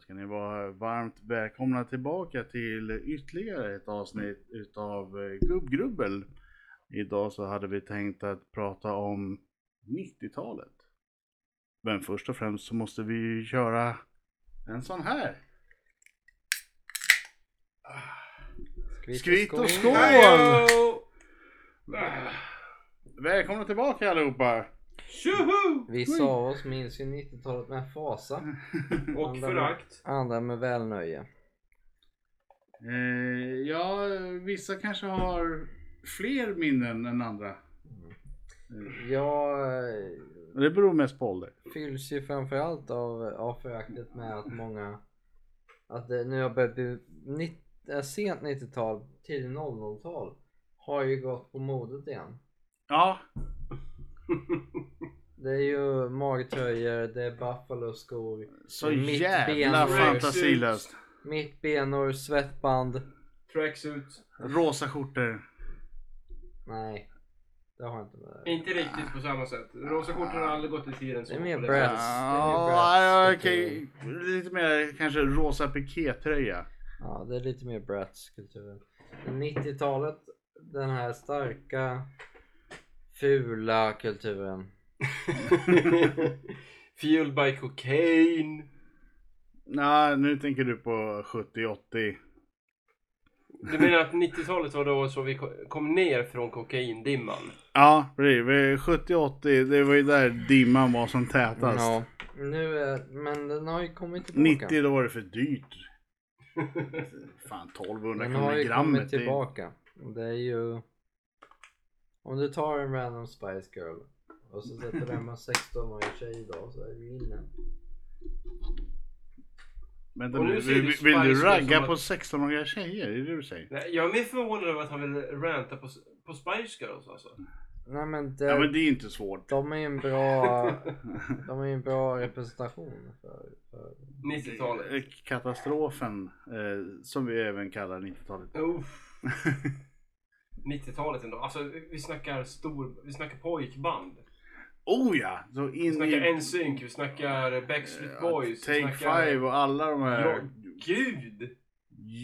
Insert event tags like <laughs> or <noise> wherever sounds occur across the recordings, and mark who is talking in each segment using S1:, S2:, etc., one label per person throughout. S1: ska ni vara varmt välkomna tillbaka till ytterligare ett avsnitt utav eh, Gubbgrubbel. Idag så hade vi tänkt att prata om 90-talet. Men först och främst så måste vi ju köra en sån här. Skvitt och skål! Välkomna tillbaka allihopa!
S2: Tjoho!
S3: Vi sa oss minns ju 90-talet med fasa.
S2: Och
S3: Andra
S2: förakt.
S3: Andra med välnöje.
S1: Eh, ja, vissa kanske har fler minnen än andra.
S3: Jag eh,
S1: Men Det beror mest på ålder.
S3: fylls ju framförallt av, av föraktet med att många... Att det, nu har börjat bli nitt- eh, sent 90-tal, tidigt 00-tal har ju gått på modet igen.
S1: Ja,
S3: Det är ju magtröjor, det är buffaloskor,
S1: så
S3: Mitt
S1: jävla
S3: ben-
S1: fantasilöst.
S3: mittbenor, svettband.
S2: Tracksuit.
S1: Rosa skjortor.
S3: Nej, det har inte med
S2: Inte riktigt på samma sätt. Rosa skjortor har aldrig gått i tiden. så
S3: Det är mer
S2: på
S3: Brats.
S2: sättet.
S1: Ja,
S3: Brats,
S1: ja, okej. Lite mer kanske rosa pikétröja.
S3: Ja, det är lite mer Bratz-kulturen. Men 90-talet, den här starka, fula kulturen.
S2: <laughs> Fueled by cocaine.
S1: Nej, nu tänker du på 70-80.
S2: Du menar att 90-talet var då så vi ko- kom ner från kokaindimman?
S1: Ja, precis. Vi- 70-80, det var ju där dimman var som tätast.
S3: Ja, nu är, men den har ju kommit tillbaka.
S1: 90 då var det för
S2: <laughs>
S1: dyrt. Fan 1200
S3: den har
S1: kronor
S3: ju kommit
S1: grammet. det är-
S3: tillbaka. Det är ju... Om du tar en random Spice Girl och så sätter den med 16-årig tjej idag så är du inne.
S1: Vänta
S2: Och
S1: nu,
S2: nu ser
S1: vill,
S2: du
S1: vill,
S2: Spice
S1: vill du
S2: Girls
S1: ragga
S2: som att-
S1: på 16-åriga tjejer? Är det det du säger?
S2: Nej, Jag är mer förvånad över att han vill ranta på, på Spice Girls alltså.
S3: Nej men, det,
S1: Ja men det är inte svårt.
S3: de är ju en bra... de är ju en bra representation för... för
S2: 90-talet.
S1: Eh, Katastrofen, eh, som vi även kallar 90-talet.
S2: Uff. 90-talet ändå. Alltså vi vi snackar stor, vi snackar pojkband.
S1: Oh ja! Så in
S2: Vi snackar
S1: i...
S2: NSYNC, vi snackar Backstreet
S1: eh,
S2: Boys. vi
S1: Take
S2: snackar...
S1: Five och alla de
S2: Ja,
S1: här.
S2: gud!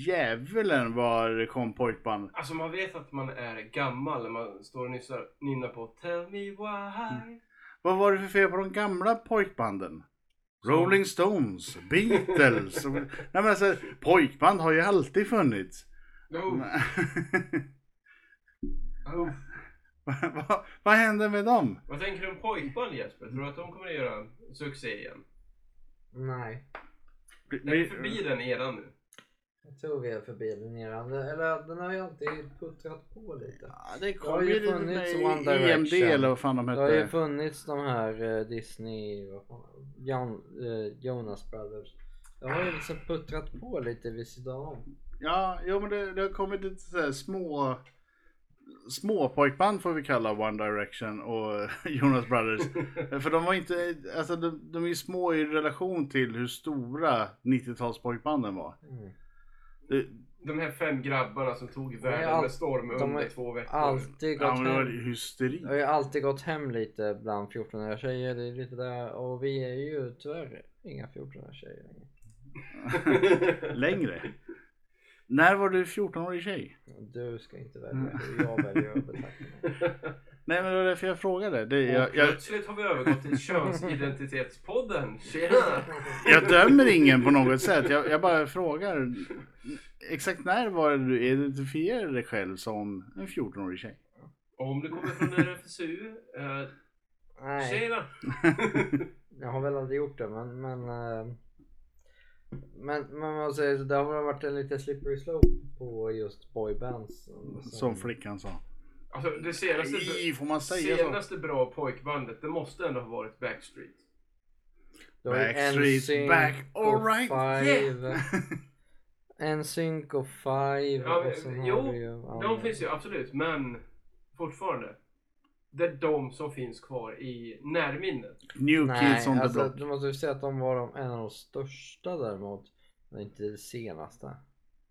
S1: Djävulen var det kom pojkband.
S2: Alltså man vet att man är gammal när man står och nyssar, nynnar på Tell me
S1: Mm.
S2: why.
S1: Vad var det för fel på de gamla pojkbanden? Rolling Stones,
S2: <laughs>
S1: Beatles. och- Nej men alltså, pojkband har ju alltid funnits.
S2: Oh, oh.
S1: vad, <laughs> vad, vad hände med dem?
S2: Vad tänker du om pojkband Jesper? Tror du att de kommer att göra succé igen?
S3: nej.
S2: Är vi förbi den eran nu?
S3: Jag tror vi är förbi den eran. Eller den har ju alltid puttrat på lite.
S1: Ja, det
S3: Det har
S1: kom
S3: ju
S1: ju lite
S3: funnits
S1: med
S3: One
S1: EMD
S3: Direction.
S1: eller vad fan de
S3: Det har ju
S1: hette.
S3: funnits de här eh, Disney, vad fan, Jan, eh, Jonas Brothers. Det har ju liksom puttrat på lite vid sidan om.
S1: Ja, jo, men det, det har kommit lite så här små små pojkband får vi kalla One Direction och <laughs> Jonas Brothers. För de var inte, alltså de, de är ju små i relation till hur stora 90-talspojkbanden var.
S3: Mm.
S1: Det,
S2: De här fem grabbarna som tog
S3: är
S2: världen
S3: all-
S2: med storm
S3: de
S2: under
S3: är
S2: två veckor. <laughs>
S3: Alltid
S1: ja,
S3: gått
S1: men det var
S3: hem.
S1: ju hysteri.
S3: Det har ju alltid gått hem lite bland 14-åriga tjejer. Det är lite där. Och vi är ju tyvärr inga 14-åriga tjejer längre.
S1: Längre. När var du 14-årig tjej?
S3: Du ska inte
S1: Mm.
S3: välja. hur Jag väljer att betrakta mig.
S1: Nej men det var därför jag frågade. Det, <laughs>
S2: Och
S1: jag, jag,
S2: plötsligt har vi övergått till könsidentitetspodden. Tjena!
S1: <laughs> jag dömer ingen på något sätt. Jag, jag bara frågar. Exakt när var det du identifierade dig själv som en 14-årig tjej?
S2: Om du kommer från RFSU, eh,
S3: Nej.
S2: tjena!
S3: Jag har väl aldrig gjort det men men eh, men, men man säger så, det har väl varit en lite slippery slope på just boybands. Som,
S1: Som flickan sa.
S2: Alltså det senaste...
S1: I, får man säga så?
S2: Senaste bra pojkbandet, det måste ändå ha varit Backstreet.
S3: Det var ju
S1: Backstreet
S3: NSYNC
S1: back,
S3: och
S1: all right,
S3: Five. <laughs> NSYNC och Five.
S2: Ja,
S3: och sen
S2: jo,
S3: har vi ju, ja,
S2: De finns ju absolut, men fortfarande. Det är de som finns kvar i närminnet.
S1: New Kids on
S3: Nej,
S1: the
S3: alltså,
S1: Block.
S3: du måste ju säga att de var de, en av de största däremot. Men inte det senaste.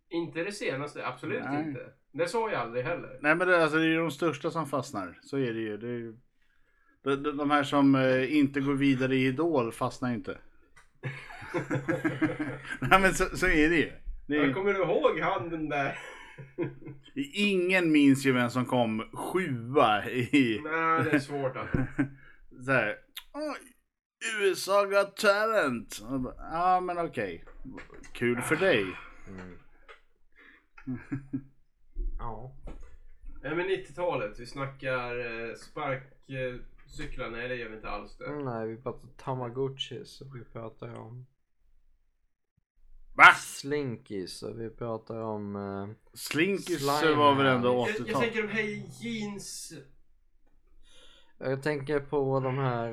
S2: Inte det senaste, absolut
S1: Nej.
S2: inte. Det sa jag aldrig
S1: <laughs>
S2: heller.
S1: Nej men det, alltså, det är ju de största som fastnar. Så är det ju. Det är ju... De, de, de här som eh, inte <laughs> går vidare i Idol fastnar ju inte. Nej men så, så är det ju. Det är,
S2: Jag kommer du ihåg han den där?
S1: Ingen minns ju vem som kom sjua i... <laughs>
S2: Nej, det är svårt alltså.
S1: så här, "Oj, USA got talent. Och jag bara, Ja men okej. Kul för dig. <laughs>
S3: Mm. ja.
S2: Nej men 90-talet, vi snackar eh, sparkcyklar. Nej det gör vi inte alls det.
S3: Mm, Nej, vi pratar tamagotchis och vi pratar om
S1: Va?
S3: slinkies och vi pratar om... Eh,
S1: Slinkies
S3: Slime
S1: var väl ändå
S2: Jag, jag
S1: 80-tal?
S2: tänker de här jeans...
S3: jag tänker på de här,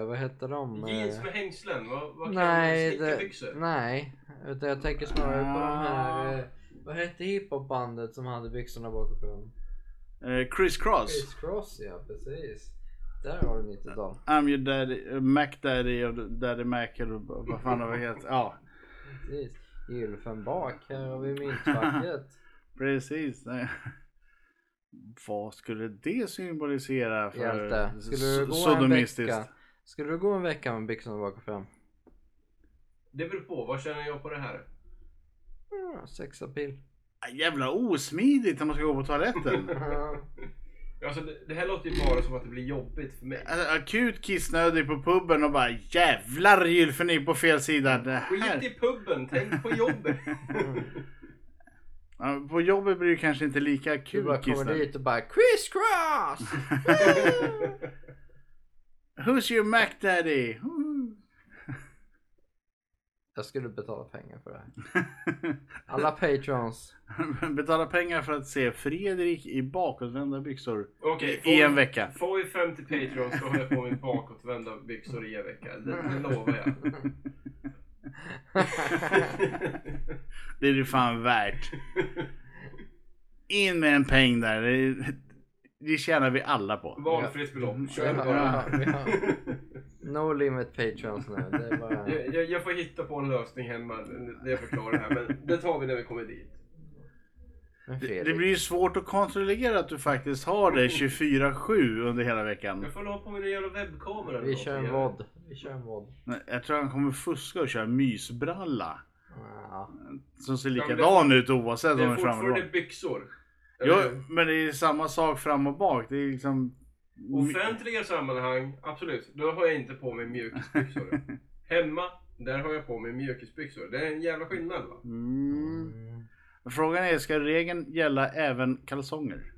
S3: eh, vad heter de?
S2: Jeans
S3: Eh,
S2: med hängslen. Vad, vad
S3: nej,
S2: Nej,
S3: det,
S2: Snickarbyxor?
S3: nej, utan jag tänker snarare på de
S1: Ah.
S3: här, eh, vad hette hiphopbandet som hade byxorna bakom?
S1: Eh, Chris Cross.
S3: Chris Cross ja, precis. Där har du 90-tal.
S1: I'm your daddy, eh, Mac daddy och daddy Mac eller vad fan det var helt. Ja
S3: Precis. Gylfen bak, här har vi myntfacket.
S1: precis. <laughs> Nej. Vad skulle det symbolisera <laughs> för
S3: Hjälte. Skulle
S1: so-
S3: du gå en
S1: sodomistiskt?
S3: vecka? Skulle du gå en vecka med byxorna bak och fram?
S2: Det beror på, vad känner jag på det här?
S1: <laughs>
S3: Ja, sexapil.
S1: Ah, Jävla osmidigt när man ska gå på toaletten. <laughs>
S3: Ja.
S2: Alltså, det, det här låter ju bara som att det blir jobbigt för mig.
S1: Alltså, akut kissnödig på puben och bara jävlar gylfen är på fel
S3: Mm.
S1: sida. Det
S2: Skit
S1: här.
S2: i puben, tänk på jobbet.
S1: Ja, På jobbet blir det kanske inte lika
S3: Du
S1: akut
S3: bara kommer
S1: kissnödig.
S3: dit och bara Chris Cross!
S1: <laughs> Who's your Mac daddy? <laughs>
S3: <laughs>
S1: Woo.
S3: Jag skulle betala pengar för det här.
S1: <laughs>
S3: Alla patrons.
S1: Betala pengar för att se Fredrik i bakåtvända byxor
S2: Okej, får
S1: i en
S2: vi-
S1: vecka.
S2: Får vi 50 Patreons så håller jag på med bakåtvända byxor i en vecka. Det, det lovar jag. <laughs>
S1: <laughs> Det är det fan värt. In med en peng där. Det, det tjänar vi alla på.
S2: Valfritt belopp.
S3: Vi
S2: Kör
S3: har,
S2: bara. <laughs>
S3: vi har, vi har no limit patrons nu. Det är bara...
S2: Jag, jag, jag får hitta på en lösning hemma när jag förklarar det här. Men det tar vi när vi kommer dit.
S3: Men
S1: Det,
S3: Fredrik.
S1: det blir ju svårt att kontrollera att du faktiskt har det 24-7 under hela veckan.
S2: Jag får hålla på med den jävla webbkameran. eller
S3: Vi
S2: något.
S3: kör en
S2: Jag-
S3: vod. Vi kör en vod.
S1: Nej, Jag tror han kommer fuska och köra mysbralla.
S3: Ja.
S1: Som ser
S2: Ja, men det-
S1: likadan ut oavsett om
S2: Det
S1: den är
S2: är
S1: fram eller
S2: fortfarande
S1: bak.
S2: byxor.
S1: Jo,
S2: Eller hur?
S1: men det är samma sak fram och bak. Det är liksom...
S2: Offentliga sammanhang, absolut. Då har jag inte på
S1: <laughs>
S2: mig mjukisbyxor. Hemma, där har jag på mig mjukisbyxor. Det är en jävla skillnad va?
S1: Mm.
S3: Mm.
S1: Frågan är, ska regeln gälla även
S2: <laughs>
S1: kalsonger?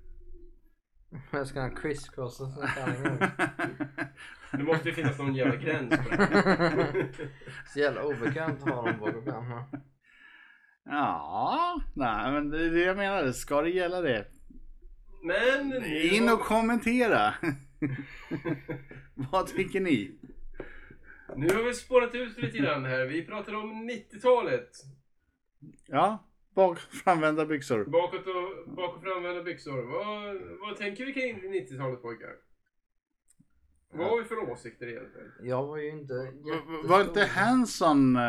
S3: Jag ska ha Chris Cross och såna
S1: <laughs>
S3: kallingar.
S2: Det måste ju finnas någon jävla gräns på det här.
S1: <laughs>
S3: Så jävla obekant att ha dem bak och fram.
S1: ja, nej men det är det jag menar. Ska det gälla det?
S2: Men nu...
S1: In och
S2: <laughs>
S1: kommentera! Vad tycker ni?
S2: Nu har vi spårat ut lite grann här. Vi pratar om 90-talet.
S1: Ja, bak framvända byxor.
S2: Bakåt och, bak och framvända byxor. Vad, vad tänker vi kring 90-talet pojkar? Vad har vi för åsikter egentligen?
S3: Jag var ju inte jättestor.
S1: Var inte Hanson... eh,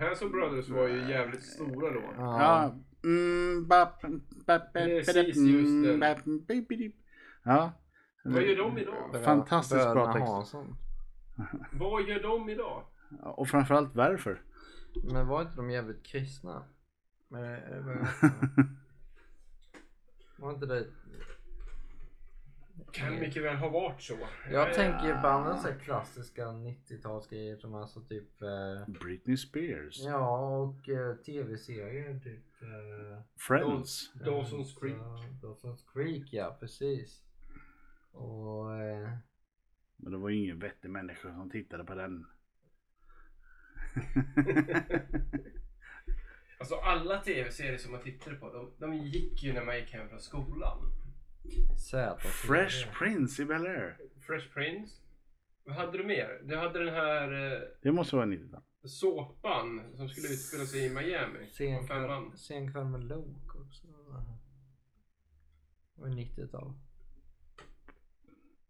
S2: Hanson Brothers var ju jävligt stora då.
S3: Ja.
S1: Ja. Mm, bap, bap, mm,
S2: Precis, just det.
S1: bap, bip, bip. Ja.
S2: Vad gör de idag?
S1: Fantastiskt bra
S3: Bröderna
S1: text.
S3: Hansson.
S2: Vad gör de idag?
S1: Och framförallt varför?
S3: Men var inte de jävligt kristna? Men, eh, var- var inte det?
S2: Kan mycket väl ha varit så.
S3: Jag tänker ju på andra
S1: Eh.
S3: så här klassiska 90-talsgrejer som alltså typ eh,
S1: Britney Spears.
S3: Ja och eh, tv-serier typ eh,
S1: Friends.
S2: Dawson's Creek.
S3: så- Dawson's Creek ja precis. Och eh,
S1: Men det var ju ingen vettig människa som tittade på den.
S2: Alltså alla tv-serier som man tittade på, de, de gick ju när man gick hem från skolan.
S3: Z. alltså,
S1: Fresh Prince i Bel Air.
S2: Fresh Prince. Vad hade du mer? Du hade den här eh,
S1: Det måste vara 90
S2: såpan som skulle utspela sig i Miami. På
S3: Sen
S2: femman.
S3: kväll, sen kväll med Lok också. Det var 90-tal.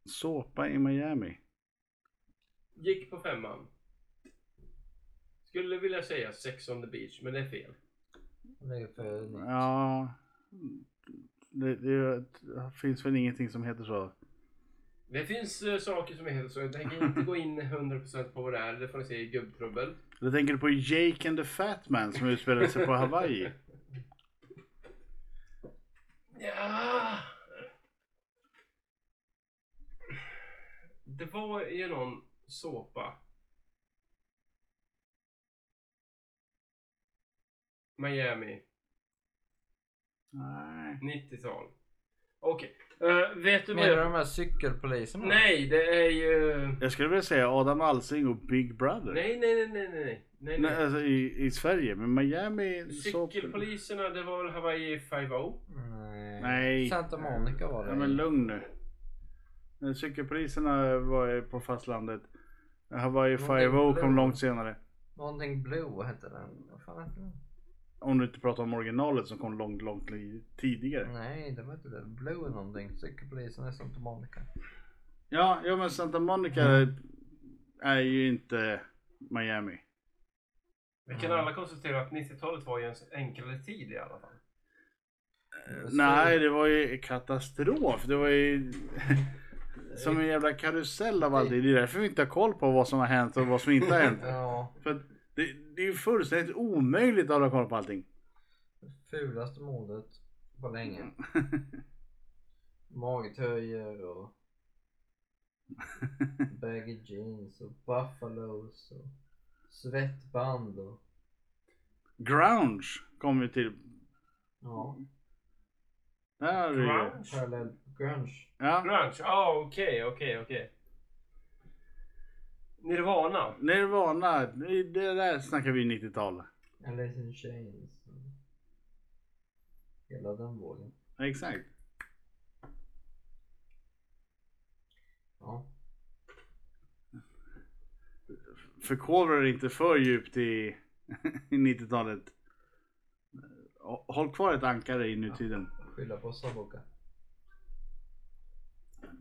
S1: Såpa i Miami.
S2: Gick på femman. Skulle vilja säga Sex on the beach, men det är fel.
S3: Det är för nytt.
S1: Ja. Det, det, det finns väl ingenting som heter så.
S2: Det finns eh, saker som är helt så. Jag tänker inte gå in 100% på vad det är. Det får ni se i gubbtrubbel.
S1: Eller tänker du på Jake and the Fat Man som utspelade sig på Hawaii?
S2: Ja. Det var ju någon såpa. Miami,
S1: Nej.
S2: 90-tal. Okej, eh, vet du vad
S3: Menar du de
S2: jag...
S3: här cykelpoliserna?
S2: Nej, det är ju...
S1: Jag skulle vilja säga Adam Alsing och Big Brother.
S2: Nej, nej, nej, nej, nej. nej,
S1: Nej,
S2: nej.
S1: alltså i, i Sverige, men Miami... så-
S2: Cykelpoliserna, det var väl Hawaii oh. 5
S3: Nej.
S1: Nej.
S3: Mm. Santa Monica var det.
S1: Ja, men lugn nu. Men Cykelpoliserna var ju på fastlandet. Hawaii
S3: Men det är
S1: Five-O
S3: blå.
S1: kom långt senare.
S3: Någonting Blue hette den. Vad fan hette den?
S1: Om du inte pratar om originalet som kom långt, långt li- tidigare.
S3: Nej, det var inte det. Blue någonting. Cykelpolisen i Santa Monica.
S1: Ja, ja men Santa Monica
S3: Mm.
S1: är ju inte Miami.
S2: Vi kan alla konstatera att 90-talet var ju en enklare tid i alla fall.
S1: Eh, Nej, det var ju katastrof. Det var ju <laughs> som en jävla karusell av allting. Det är därför vi inte har koll på vad som har hänt och vad som inte har hänt.
S3: <laughs> Ja,
S1: För att det, det är ju fullständigt omöjligt att hålla koll på allting.
S3: fulaste mordet på länge. Magtöjer och baggy jeans och buffalos och svettband och
S1: Grunge kom ju till.
S3: ja,
S1: Där har du ju.
S2: Grunge?
S3: parallell grunge.
S1: Ja.
S2: Grunge? Ja, okej, okej, okej. Nirvana?
S1: Nirvana, det det där snackar vi 90-tal.
S3: Alice in Chains. och Hela den vågen.
S1: Exakt.
S3: Ja.
S1: Förkovra dig inte för djupt i, <laughs> i 90-talet. Håll kvar ett ankare i nutiden.
S3: Skylla på Saboka.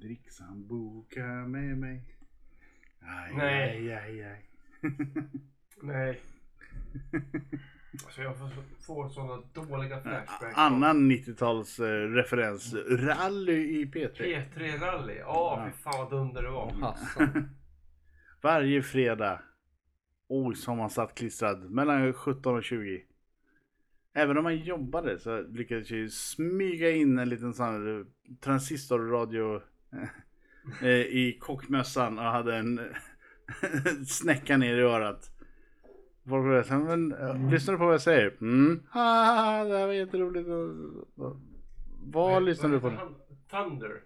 S1: Drick sambuca med mig. Aj,
S2: Nej.
S1: Aj, aj, aj.
S2: Nej. <laughs> Alltså jag får, får sådana dåliga flashbacks.
S1: Annan 90-tals eh, referens. Rally i P3.
S2: P3-rally? Ja,
S1: Ja.
S2: fy fan vad dunder det var.
S3: Hassan.
S1: Varje fredag. Oj, som man satt klistrad. Mellan 17 och 20. Även om man jobbade så lyckades jag ju smyga in en liten sån här eh, transistorradio eh, i kockmössan och hade en <laughs> snäcka ner i örat. Folk var så här, men eh, lyssnar du på vad jag säger? Mm. Ha, ha, ha, det här var jätteroligt. Vad, vad lyssnar du på?
S2: Han, Thunder?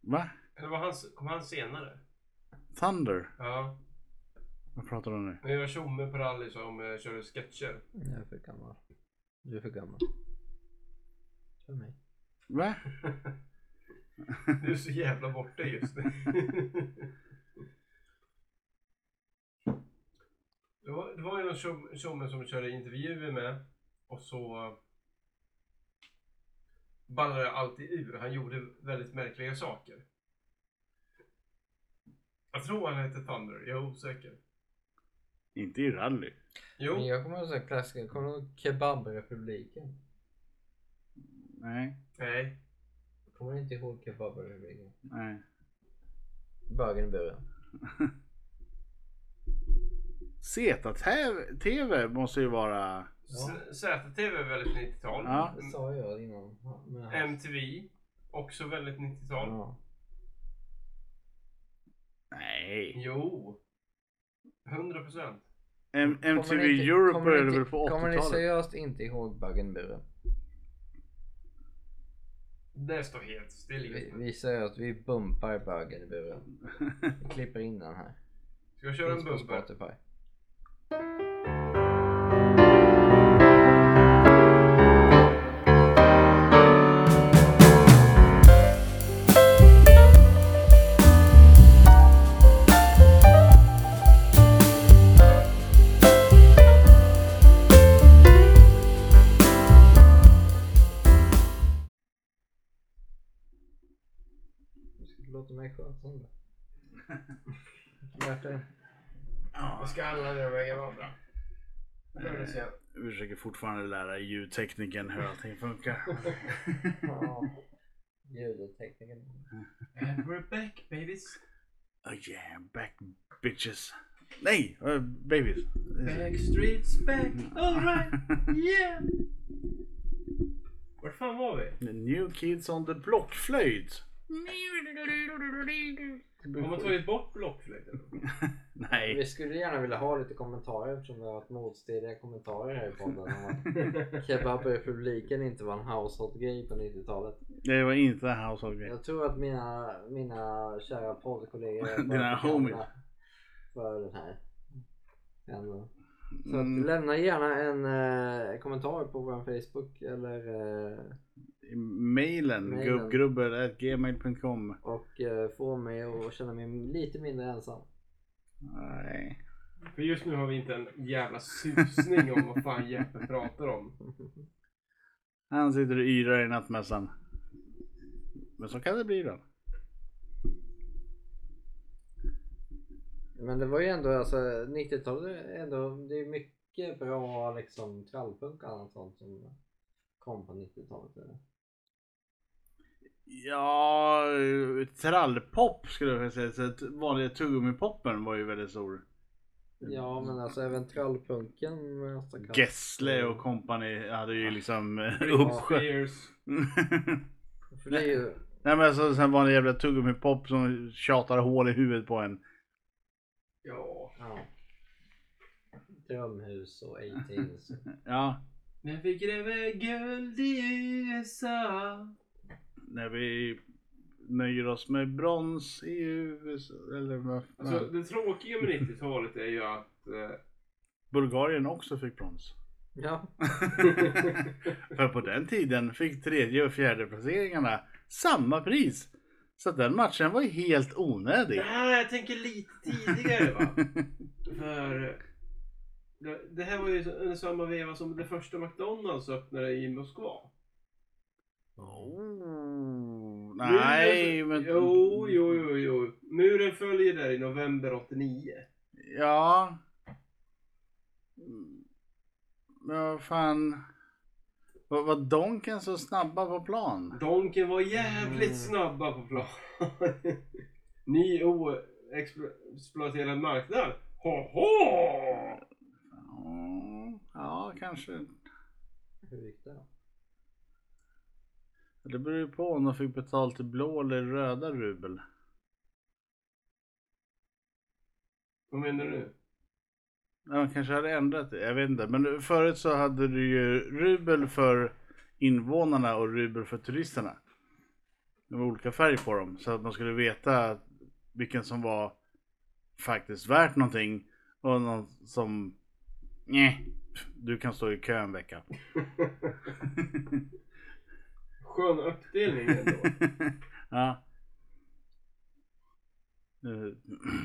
S1: Va?
S2: Eller var han, kom han senare?
S1: Thunder?
S2: Ja.
S1: Vad pratar du om nu?
S2: Men jag var tjomme på rally som eh, körde sketcher.
S3: Jag är för gammal. Du är för gammal. För mig.
S1: Va?
S2: Du är så jävla borta just nu. Det var, det var ju någon tjom- tjomme som körde intervjuer med och så ballade alltid ur. Han gjorde väldigt märkliga saker. Jag tror han hette Thunder, jag är osäker.
S1: Inte i rally.
S3: Men
S2: Jo,
S3: jag kommer ihåg så här klassiker, kommer du ihåg Kebabrepubliken?
S1: Nej,
S2: nej.
S3: Kommer du inte ihåg Kebabrepubliken?
S1: nej.
S3: Bögen i buren.
S1: Zeta-TV måste ju vara...
S2: S- ZTV är väldigt 90-tal.
S1: Ja.
S3: Det sa jag innan. Men alltså. han-
S2: MTV, också väldigt 90-tal.
S3: Ja.
S1: Nej.
S2: Jo, 100 procent.
S1: M-
S3: Kommer
S1: MTV
S3: ni inte-
S1: Europe
S3: kommer ni
S1: började
S3: inte-
S1: väl på
S3: Kommer ni
S1: 80-talet?
S3: seriöst inte ihåg Bögen i buren?
S2: Det står helt still
S3: Vi,
S2: just nu.
S3: vi säger att vi bumpar Bögen i buren.
S1: <laughs>
S3: Vi klipper in den här.
S2: Ska jag köra en
S3: Finns på
S2: bumper?
S3: Spotify. Låter mig sköta om det. Värt det.
S1: Ja,
S2: Jag ska alla de vägar varandra. Nu ska jag-
S1: jag försöker fortfarande lära ljudtekniken hur allting funkar.
S3: Ja. Ljudtekniken.
S2: We're back babies.
S1: oh yeah, back bitches. Nej, eh, babies. Eh,
S2: Backstreets back, alright, yeah! Var fan var vi?
S1: The new kids on the blockflöjt.
S2: Har man tagit bort blockflöjten?
S1: Nej.
S3: Vi skulle gärna vilja ha lite kommentarer eftersom vi har haft motstridiga kommentarer här i podden. om
S1: <laughs>
S3: att Kebaber i publiken inte var en household-grej på 90-talet.
S1: Det var inte household grej.
S3: Jag tror att mina, mina kära poddkollegor är bara
S1: Dina
S3: för gamla
S1: homies.
S3: för den här. Ändå. Så att,
S1: Mm,
S3: lämna gärna en eh, kommentar på vår Facebook eller eh,
S1: Mm, mailen,
S3: Mailen.
S1: gubbgrubbel.gmail.com.
S3: och eh, få mig att känna mig lite mindre ensam.
S1: Nej.
S2: För just nu har vi inte en jävla susning om vad fan Jeppe pratar om.
S1: Han sitter och yrar i nattmössan. Men så kan det bli då.
S3: Men det var ju ändå alltså 90-talet är ändå det är mycket bra liksom trallpunk och annat sånt som kom på 90-talet. eller?
S1: Ja, trallpop skulle jag vilja säga. Så att vanliga tuggummipoppen var ju väldigt stor. Mm.
S3: Ja men alltså även trallpunken. alltså, kan-
S1: Gessle och company hade
S3: Ah.
S1: ju liksom eh,
S2: Britney
S1: uppsjö.
S2: Spears.
S3: För det är ju,
S1: Nej men alltså sen var det jävla tuggummi-pop som tjatar hål i huvudet på en.
S2: Ja.
S3: ja. Drömhus och
S1: <laughs>
S3: 18s.
S1: Ja,
S2: När vi gräver guld i USA.
S1: när vi nöjer oss med brons i USA eller vad fan.
S2: Alltså det tråkiga med 90-talet är ju att eh,
S1: Bulgarien också fick brons.
S3: Ja.
S1: För på den tiden fick tredje och fjärde placeringarna samma pris. Så att den matchen var ju helt onödig.
S2: Nej, jag tänker lite tidigare
S1: <laughs>
S2: va. För det, det här var ju under samma veva som det första McDonalds öppnade i Moskva.
S1: Oh, nej
S2: Muren-
S1: men.
S2: alltså, Jo, jo, jo, jo. Muren följer där i november 89.
S1: Ja. Mm. Men vad fan. Var, var Donken så snabba på plan?
S2: Donken var jävligt
S3: Mm.
S2: snabba på plan. <laughs> Ny oexploaterad marknad. Hoho!
S1: Ja, Ja, kanske.
S3: Hur gick det då?
S1: Det beror ju på om de fick betalt i blå eller röda rubel.
S2: Vad menar du?
S1: Ja, De kanske hade ändrat det, jag vet inte. Men förut så hade du ju rubel för invånarna och rubel för turisterna. Det var olika färg på dem så att man skulle veta vilken som var faktiskt värt någonting och någon som nej, du kan stå i kö en vecka.
S2: Skön uppdelning
S1: <laughs>
S2: ändå.
S1: ja. Eh,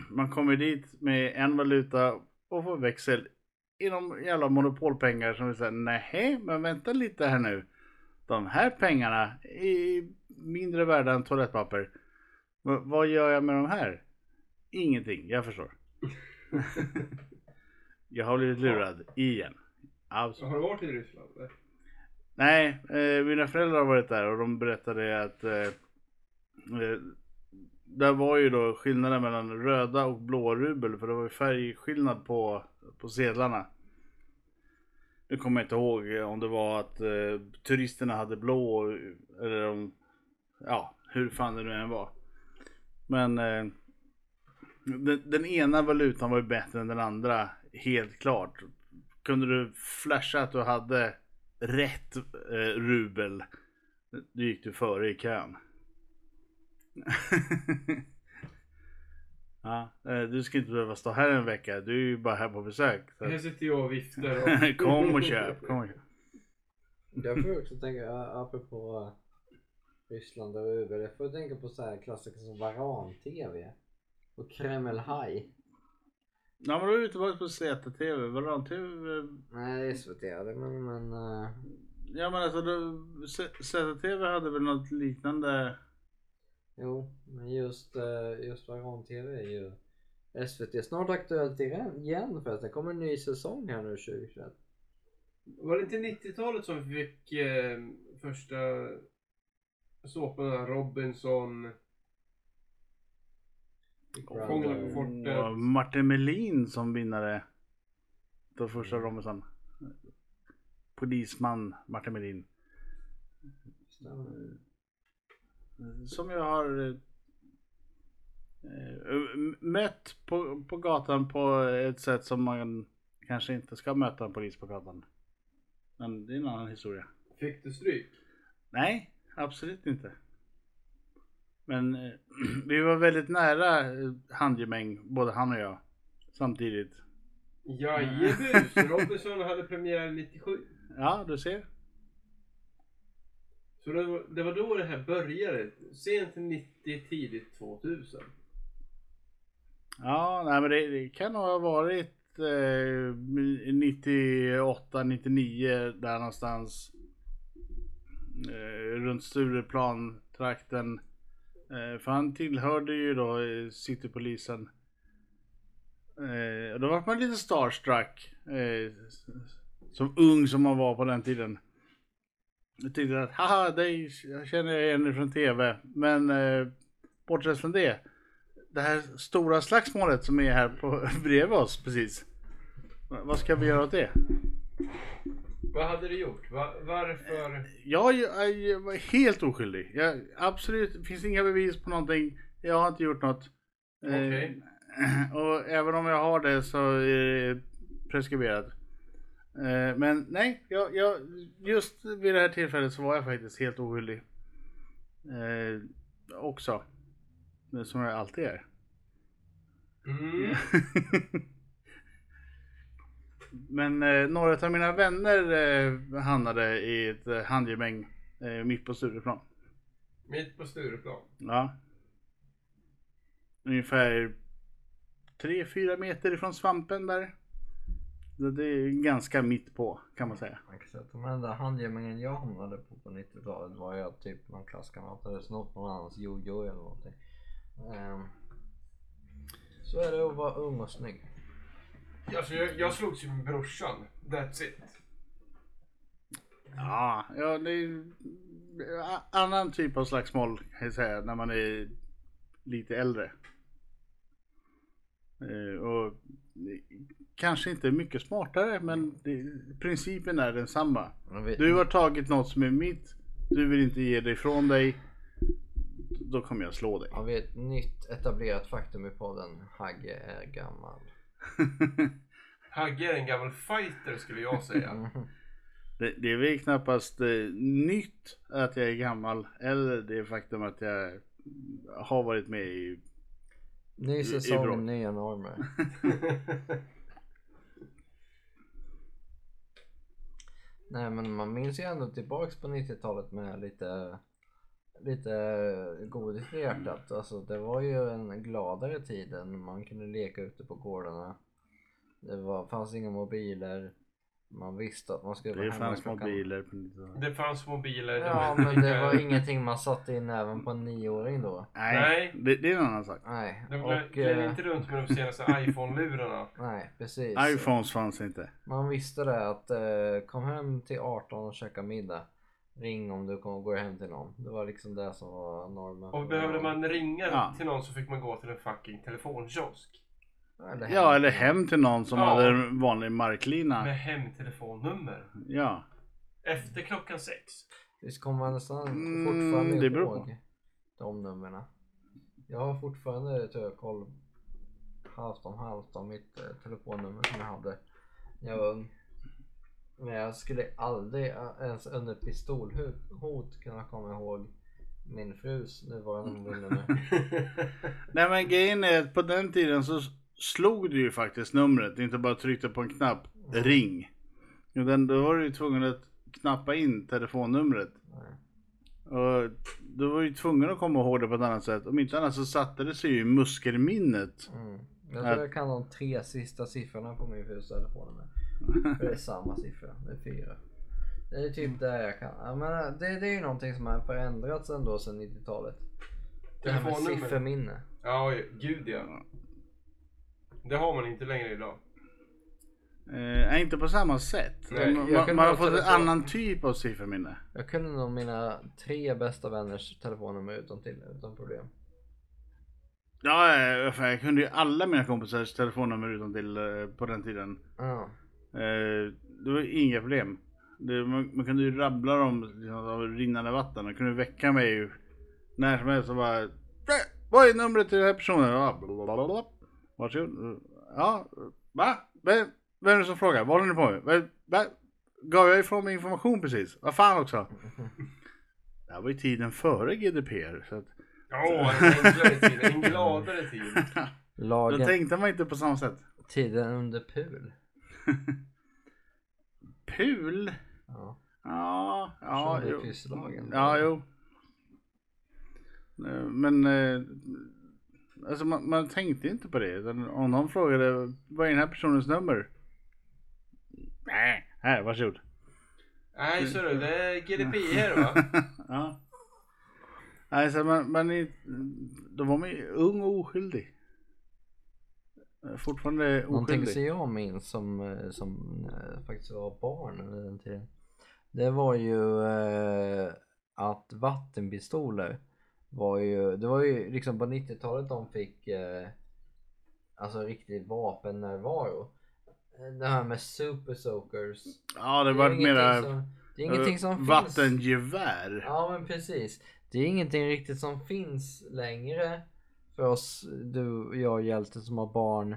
S1: Man kommer dit med en valuta och får växel inom jävla monopolpengar som vi säger nej men vänta lite här nu. De här pengarna är mindre värda än toalettpapper. Va- vad gör jag med de här? Ingenting, jag förstår. jag har blivit lurad igen. Absolut.
S2: Har du varit i Ryssland? eller?
S1: Nej, eh, mina föräldrar har varit där och de berättade att eh, eh, där var ju då skillnaden mellan röda och blå rubel för det var ju färgskillnad på, på sedlarna. Nu kommer jag inte ihåg eh, om det var att eh, turisterna hade blå eller om, ja hur fan det nu än var. Men eh, den, den ena valutan var ju bättre än den andra helt klart. Kunde du flasha att du hade rätt eh, rubel. Då gick du före i kön. <laughs> ja, eh, du ska inte behöva stå här en vecka. Du är ju bara här på besök. Så.
S2: <laughs> Här
S1: att-
S2: sitter jag och viftar.
S1: <laughs>
S2: Och...
S1: kom och köp. Kom och köp.
S3: Jag får också tänka, ä, apropå ä, Ryssland och Uber, jag får tänka på så här klassiker som Varan-TV och Kreml High.
S1: Ja, men då är vi tillbaka på ZTV. Varan-TV. eh,
S3: Nej, SVT hade men, men eh, ä,
S1: Ja, men alltså då- Z- ZTV hade väl något liknande.
S3: jo, men just, ä, just Varan-TV är ju SVT snart aktuellt igen- igen för att det kommer en ny säsong här nu 2021.
S2: Var det inte 90-talet som vi fick eh, första såporna Robinson? Fångarna på
S3: Brother.
S2: fortet.
S1: Och Martin Melin som vinnare. Då första Robinson. Polisman Martin Melin.
S3: Mm,
S1: Som jag har eh, eh, mött på, på gatan på ett sätt som man kanske inte ska möta en polis på gatan. Men det är en annan historia.
S2: Fick du stryk?
S1: Nej, absolut inte. Men eh, <clears throat> vi var väldigt nära eh, handgemäng, både han och jag. Samtidigt.
S2: Jajebus! <laughs> Robinson hade premiär 97.
S1: Ja, du ser.
S2: Så det var, det var då det här började. Sent 90, tidigt 2000.
S1: Ja, nej, men det, det kan nog ha varit eh, 98, 99 där någonstans. Eh, runt Stureplan-trakten. Eh, för han tillhörde ju då eh, Citypolisen. Eh, och då var man lite starstruck. Eh, s- s- som ung som man var på den tiden. Jag tyckte att haha, dig känner jag igen från TV. Men eh, bortsett från det det här stora slagsmålet som är här på, <laughs> bredvid oss precis. Va- Vad ska vi göra åt det?
S2: Vad hade du gjort? Va, varför?
S1: Jag, jag, jag var helt oskyldig. Jag, absolut, det finns inga bevis på någonting. Jag har inte gjort något. Eh,
S2: Okej.
S1: <clears throat> och även om jag har det så är det preskriberat. Eh, men nej, jag, jag, just vid det här tillfället så var jag faktiskt helt oskyldig. Eh, också. Men Som jag alltid är.
S2: Mm.
S1: <laughs> Men eh, några av mina vänner eh, hamnade i ett eh, handgemäng eh, mitt på Stureplan.
S2: Mitt på Stureplan.
S1: Ja. Ungefär 3-4 meter ifrån svampen där. Så det är ganska mitt på kan man säga.
S3: Man kan säga att de enda handgemängen jag hamnade på på 90-talet var ju att typ någon klasskamrat hade snott någon annans jojo eller någonting. Ehm, så är det att vara ung och snygg.
S2: Alltså, jag, jag slogs ju med brorsan. That's it.
S1: Ja, ja det är a- annan typ av slagsmål kan jag säga när man är lite äldre. Eh, Och kanske inte mycket smartare men det, principen är densamma.
S3: Men vi-
S1: Du har tagit något som är mitt, du vill inte ge dig ifrån dig. Då kommer jag slå dig.
S3: Har vi ett nytt etablerat faktum i podden? Hagge är gammal.
S2: Hagge är en gammal fighter skulle jag säga.
S3: Mhm.
S1: Det, det är väl knappast eh, nytt att jag är gammal eller det faktum att jag har varit med i
S3: Ny
S1: i bråk.
S3: säsong,
S1: <laughs>
S3: nya normer. Nej men man minns ju ändå tillbaks på 90-talet med lite, lite godis i hjärtat. Alltså det var ju en gladare tid än man kunde leka ute på gårdarna. Det var, fanns inga mobiler. Man visste att man skulle
S1: Det
S3: vara hemma
S1: fanns
S3: klockan-
S1: mobiler på 90-talet.
S2: det fanns mobiler. det
S3: Ja
S2: var-
S3: men det
S2: <laughs>
S3: var ingenting man satte in även på en nioåring då.
S1: Nej, Det, det är en annan sak.
S3: Nej.
S2: De
S3: Och,
S2: gled
S3: eh,
S2: inte runt med de
S1: <laughs>
S2: senaste iPhone-lurarna.
S3: nej precis.
S1: Iphones fanns inte.
S3: Man visste det att eh, kom hem till 18 och käka middag. Ring om du kommer gå hem till någon. Det var liksom det som var normen.
S2: Och behövde man ringa
S1: Ja.
S2: till någon så fick man gå till en fucking telefonkiosk.
S3: Eller hem.
S1: Ja, eller hem till någon som
S2: Ja.
S1: hade en vanlig marklina.
S2: Med hemtelefonnummer.
S1: Ja.
S2: Efter klockan sex.
S3: Visst kommer man nästan
S1: Mm,
S3: fortfarande
S1: det beror på.
S3: ihåg de numren. Jag har fortfarande tror jag, koll halvt om halvt om mitt eh, telefonnummer som jag hade när jag var ung. Men jag skulle aldrig eh, ens under pistolhot kunna komma ihåg min frus nuvarande mobilnummer.
S1: Nej men grejen är att på den tiden så slog du ju faktiskt numret. Inte bara tryckte på en knapp. Ring. Utan då var du ju tvungen att knappa in telefonnumret.
S3: Nej.
S1: Och du var ju tvungen att komma ihåg det på ett annat sätt. Om inte annat så satte det sig ju i muskelminnet.
S3: Mm. Jag
S1: Att-
S3: tror jag kan de tre sista siffrorna på min frus telefonnummer. För det är samma siffra, det är fyra. Det är
S1: Mm.
S3: typ det jag kan. Jag menar, det, det är ju någonting som har förändrats ändå sedan 90-talet. Det här med
S2: Telefonnummer.
S3: sifferminne.
S2: Ja, gud ja. Det har man inte längre idag.
S1: Eh, nej, inte på samma sätt.
S2: Nej,
S1: man,
S3: jag kan
S1: man har
S3: bara
S1: fått en
S3: telefon-
S1: annan typ av sifferminne.
S3: Jag kunde nog mina tre bästa vänners telefonnummer utan till utan problem.
S1: Ja, eh, fan, jag kunde ju alla mina kompisars telefonnummer utan till eh, på den tiden.
S3: Ja.
S1: Eh, Det var inga problem. Det, man, man kunde ju rabbla dem liksom, av rinnande vatten. De kunde väcka mig ju när som helst och bara "Äh, Vad är numret till den här personen? Ja, blablabla. Varsågod. Ja, va? Vem, vem är det som frågar? Vad håller ni på med? Vem, va? Gav jag ifrån mig information precis? Vad fan också? Det här var ju tiden före GDPR. Så att,
S2: Ja, en enklare tid. En gladare tid.
S1: då
S3: Lagen
S1: tänkte man inte på samma sätt.
S3: tiden under pul.
S1: Pul?
S3: Ja.
S1: Ja, ja,
S3: Som det är
S1: jo.
S3: pysslagen.
S1: Ja, jo. Eh, Men eh, alltså man, man tänkte inte på det. utan Om någon frågade vad är den här personens nummer? Nej, här varsågod.
S2: Nej, så du, det är GDPR va?
S1: ja. Alltså man, man är, då var man ju ung och oskyldig. Eh, Fortfarande
S3: Någonting som
S1: oskyldig.
S3: jag minns som, eh, som eh, faktiskt var barn under den tiden. Det var ju eh, att vattenpistoler var ju, det var ju liksom på 90-talet de fick eh, alltså riktig vapennärvaro. Eh, Det här med super soakers.
S1: Ja, det
S3: är
S1: var
S3: ingenting
S1: mera
S3: som, det är ingenting som
S1: eh,
S3: finns.
S1: vattengevär.
S3: Ja men precis. Det är ingenting riktigt som finns längre för oss, du och jag Hjelte som har barn.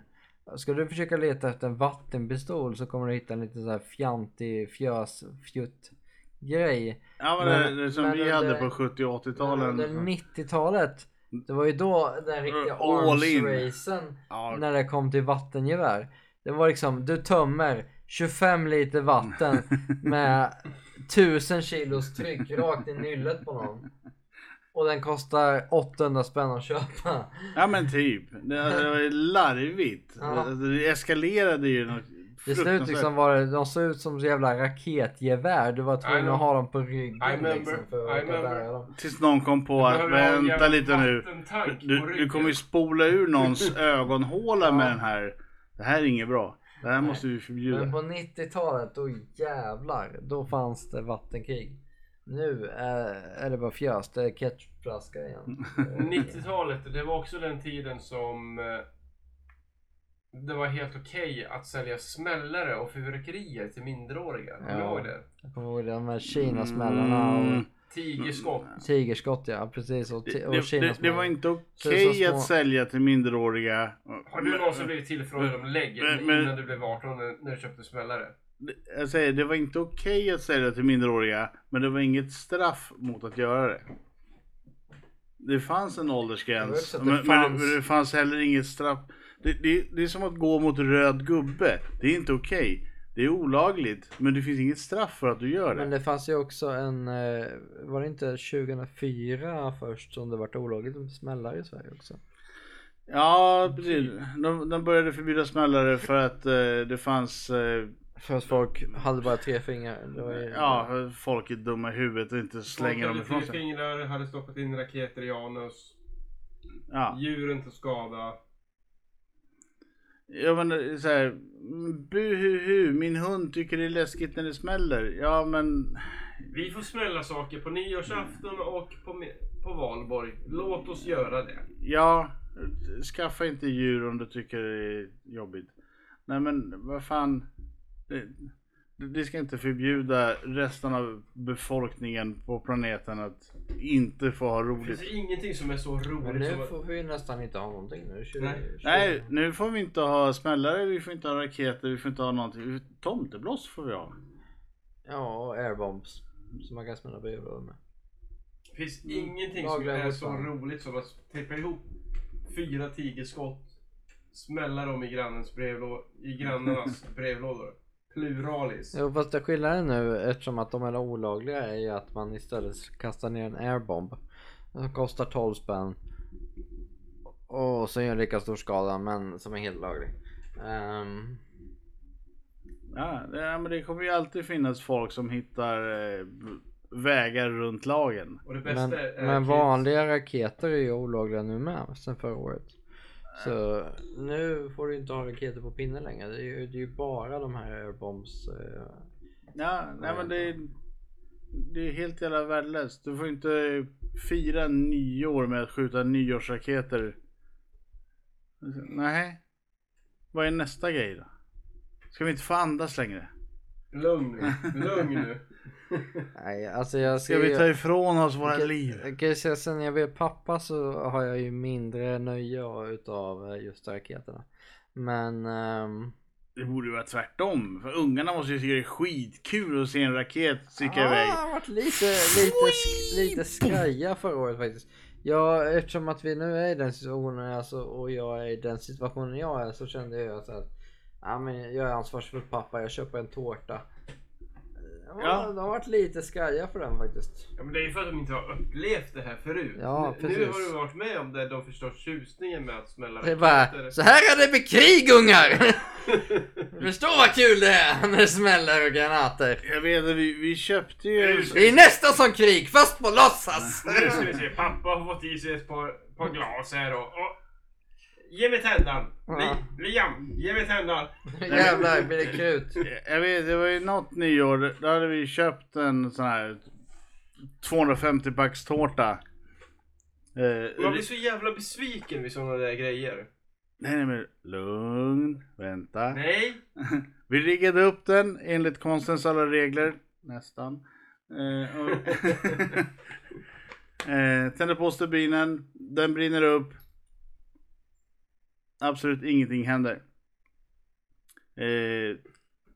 S3: Ska du försöka leta efter en vattenpistol så kommer du hitta en liten så här fjantig fjös fjutt grej.
S1: Ja, men,
S3: Men-
S1: det, det som
S3: men
S1: vi
S3: under-
S1: hade på 70 och
S3: Men
S1: 80-talen.
S3: under 90-talet, det var ju då den riktiga
S1: All in.
S3: arms-racen
S1: Ja,
S3: när det kom till vattengevär. Det var liksom, du tömmer 25 liter vatten med 1000 kilos tryck rakt i nyllet på någon. Och den kostar 800 spänn att köpa.
S1: Ja men typ. Det det var ju larvigt.
S3: Ja.
S1: Alltså, Det eskalerade ju något
S3: Till slut liksom var det, de såg ut som så jävla raketgevär. Du var tvungen att ha dem på ryggen
S2: I remember.
S3: liksom för
S2: I
S3: att orka
S2: remember.
S3: bära dem.
S1: Tills någon kom på att vänta lite nu. Du, du kommer ju spola ur någons ögonhåla med
S3: Ja.
S1: den här. Det här är inget bra. Det här måste vi förbjuda.
S3: Men på 90-talet, då jävlar, då fanns det vattenkrig. Nu eh, är det bara fjös, det är ketchupflaska igen.
S2: 90-talet, det var också den tiden som eh, det var helt okej att sälja smällare och fyrverkerier till minderåriga. Kommer du
S3: Ja.
S2: ihåg det?
S3: Jag kommer ihåg de här kinasmällarna
S1: Mm.
S3: och
S2: Tigerskott.
S3: tigerskott ja, precis. Och,
S1: Det,
S3: ti- och
S1: det, det, det
S3: kinasmällar.
S1: var inte
S3: Så det
S1: okej
S3: är så små-
S1: att sälja till minderåriga.
S2: Har du någonsin blivit tillfrågad om lägg
S1: Men- men-
S2: innan du blev 18 när, när du köpte smällare?
S1: Jag säger, det var inte okej att sälja till minderåriga. Men det var inget straff mot att göra det. Det fanns en
S3: Det var
S1: åldersgräns.
S3: också att det
S1: men,
S3: fanns-
S1: Men, det, det fanns heller inget straff. Det, det, det är som att gå mot röd gubbe. Det är inte okej. Det är olagligt. Men det finns inget straff för att du gör det.
S3: Men det fanns ju också en, eh, var det inte 2004 först som det vart olagligt med smällare i Sverige också?
S1: Ja, precis. De, de började förbjuda smällare för att eh, det fanns eh,
S3: För att folk hade bara tre fingrar. Det var ju...
S1: ja, folk är dumma i huvudet och inte
S2: Folk
S1: slänger dem
S2: hade
S1: ifrån
S2: tio
S1: sig.
S2: fingrar, hade stoppat in raketer i anus.
S1: Ja.
S2: Djuren till skada.
S1: Ja men det är så här, buhuhu, min hund tycker det är läskigt när det smäller. Ja men,
S2: Vi får smälla saker på nyårsafton och på, mi- på valborg. Låt oss göra det.
S1: ja, skaffa inte djur om du tycker det är jobbigt. Nej men vad fan, det, det ska inte förbjuda resten av befolkningen på planeten att inte få ha
S2: Det finns
S1: roligt.
S2: ingenting som är så
S3: Men
S2: roligt som
S3: nu
S2: att...
S3: får vi ju nästan inte ha någonting nu. 20,
S2: Nej.
S3: 20.
S1: Nej, nu får vi inte ha smällare, vi får inte ha raketer, vi får inte ha någonting. Tomteblås får vi ha.
S3: Ja, och airbombs. Som man kan smälla brevlådor med.
S2: Det finns
S3: Mm.
S2: ingenting som
S3: Lagliga
S2: är
S3: vårt
S2: så
S3: land.
S2: roligt som att tejpa ihop fyra tigerskott, smälla dem i, grannens brevlå- i grannarnas brevlådor. Pluralis.
S3: Jo fast det skillnaden nu eftersom att de är olagliga är ju att man istället kastar ner en airbomb. Den kostar 12 spänn. Och så gör en lika stor skada men som är helt laglig. Ehm,
S1: Ja, det, ja, men det kommer ju alltid finnas folk som hittar eh, vägar runt lagen.
S2: Och det bästa
S3: men
S2: är eh,
S3: men
S2: kids.
S3: vanliga raketer är ju olagliga nu med sen förra året. Så nu får du inte ha raketer på pinne längre. Det är ju, det är ju bara de här airbombs. eh,
S1: Ja, nej men det, det är helt jävla värdelöst. Du får inte fira nyår med att skjuta nyårsraketer Nej. Vad är nästa grej då? Ska vi inte få andas längre?
S2: Lugn
S3: <laughs>
S2: nu. Lugn nu.
S3: Nej, alltså jag
S1: Ska vi ta ifrån oss våra
S3: Okej,
S1: liv?
S3: Jag kan ju säga sen jag blev pappa så har jag ju mindre nöje av- utav eh, just raketerna. Men ehm,
S1: Det borde ju vara tvärtom. För ungarna måste ju tycka det är skitkul att se en raket
S3: Ah!
S1: sticka iväg.
S3: Jag har varit lite, lite, sk- lite skraja förra året faktiskt. Ja, eftersom att vi nu är i den situationen alltså, och jag är i den situationen jag är så kände jag så att ja, men jag är ansvarsfull pappa, jag köper en tårta. Ja,
S1: Ja.
S3: De har varit lite skraja för den faktiskt.
S2: Ja, men det är ju för att de inte har upplevt det här förut.
S3: Ja,
S2: nu, nu
S3: precis.
S2: har du varit med om det. De förstår tjusningen med att smälla
S3: Det är bara, så här är det med krig ungar! <laughs> Förstår vad kul det är när det smäller och granater.
S1: Jag vet att vi, vi köpte ju...
S3: Det är nästan som krig, fast på låtsas!
S2: Nu ska vi se. Pappa har fått i sig ett par, par glas här och, och... Ge mig tändaren! Li, Liam, ge mig tändaren!
S3: Jävlar blir det krut.
S1: Jag vet, det var ju något nyår. Då hade vi köpt en sån här 250 packs tårta. Eh,
S2: Man blir så jävla besviken vid sådana där grejer.
S1: Nej, nej men lugn, vänta.
S2: Nej!
S1: Vi riggade upp den enligt konstens alla regler, nästan. Eh, och eh, tände på stubinen, den brinner upp. Absolut ingenting händer. Eh,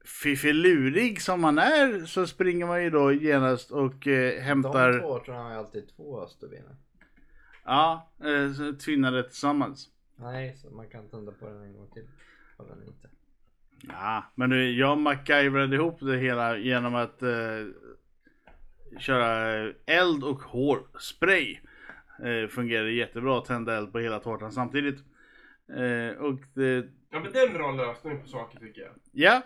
S1: fiffilurig som man är så springer man ju då genast och eh, hämtar...
S3: De två tror jag har alltid två stubiner.
S1: Ja, eh, så tvinnar det tillsammans.
S3: Nej, så man kan tända på den en gång till. Har den inte.
S1: Ja, men du, jag MacGyvrade ihop det hela genom att eh, köra eh, eld och hårspray. Eh, fungerade jättebra att tända eld på hela tårtan samtidigt. Eh, och det,
S2: Ja men det är en bra lösning på saker tycker jag.
S1: ja.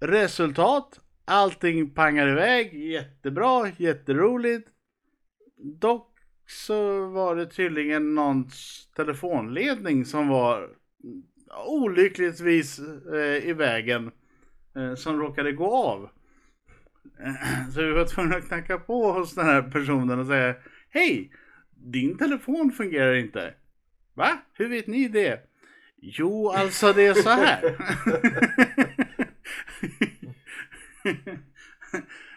S1: Resultat. Allting pangar iväg jättebra, jätteroligt. Dock så var det tydligen någons telefonledning som var olyckligtvis eh, i vägen eh, som råkade gå av. <clears throat> Så vi var tvungna att knacka på hos den här personen och säga Hej! Din telefon fungerar inte. Va? Hur vet ni det? Jo, alltså det är så här.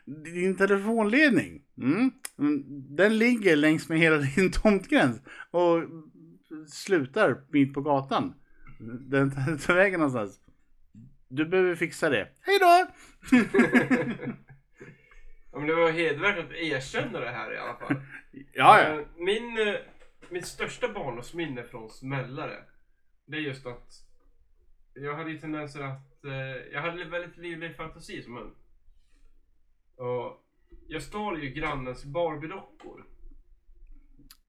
S1: Din telefonledning, mm, mm, den ligger längs med hela din tomtgräns och slutar mitt på gatan. Den tar- tar vägen någonstans. Du behöver fixa det. Hej då!
S2: Ja, men det var hedervärt att erkänna det här i alla fall.
S1: Ja, ja.
S2: Eh, Min, eh, mitt största barndomsminne från smällare. Det är just att jag hade ju tendenser att, eh, jag hade väldigt livlig fantasi som ung. Och jag stal ju grannens barbiedockor.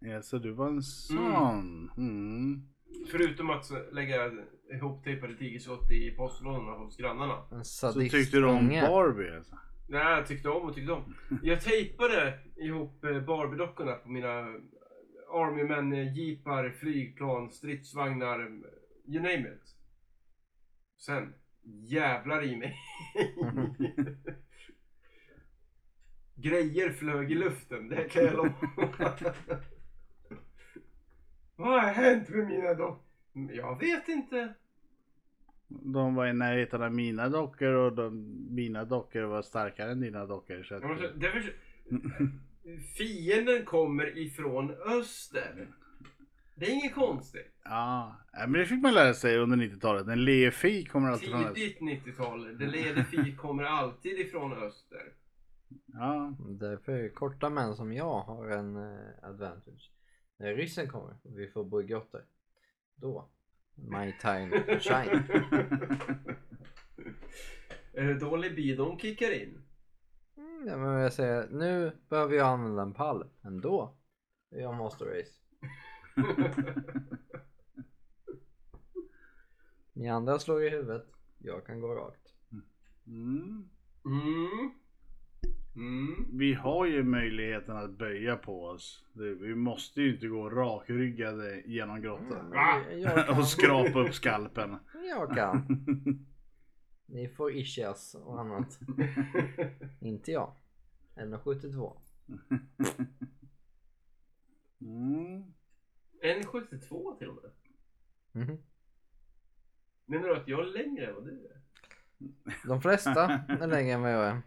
S1: ja så du var en sån. Mm.
S2: Förutom att lägga ihoptejpade tigersåt i postlådorna hos grannarna.
S3: En
S1: Så
S3: sadist
S1: tyckte du om
S3: unge.
S1: Barbie alltså.
S2: Nej, jag tyckte om och tyckte om. Jag tejpade ihop eh, Barbie-dockorna på mina Army-män, eh, jeepar, flygplan, stridsvagnar, eh, you name it. Sen, jävlar i mig. Grejer flög i luften, det kan jag lova. Vad har hänt med mina dockor? Jag vet inte.
S1: De var i närheten av mina dockor och de, mina dockor var starkare än dina dockor. Så att,
S2: Jag måste, det förs- Fienden kommer ifrån öster. Det är inget konstigt.
S1: ja, Nej, men det fick man lära sig under 90-talet. En lefi kommer alltid från öst.
S2: Tidigt 90-tal. Det
S1: <laughs>
S2: leder fi kommer alltid ifrån öster.
S1: Ja,
S3: Därför är korta män som jag har en eh, advantage. När ryssen kommer och vi får boygotter. Då. My time to shine.
S2: Är det då libidon kickar in?
S3: Mm, ja, men jag säger, nu behöver jag använda en pall ändå. Jag måste race. Ni andra slår i huvudet. Jag kan gå rakt.
S1: mm.
S2: Mm. Mm. <laughs>
S1: Vi har ju möjligheten att böja på oss. Det- Vi måste ju inte gå rakryggade genom grottan.
S2: Va?
S3: Jag, jag
S1: <laughs>
S3: kan.
S1: och skrapa upp skalpen.
S3: Jag kan. Ni får ischias och annat. Inte jag. 1,72.
S1: Mm.
S2: En 72 till och med.
S3: Mhm.
S2: Menar du att jag är längre än vad du är?
S3: De flesta är längre än vad jag är.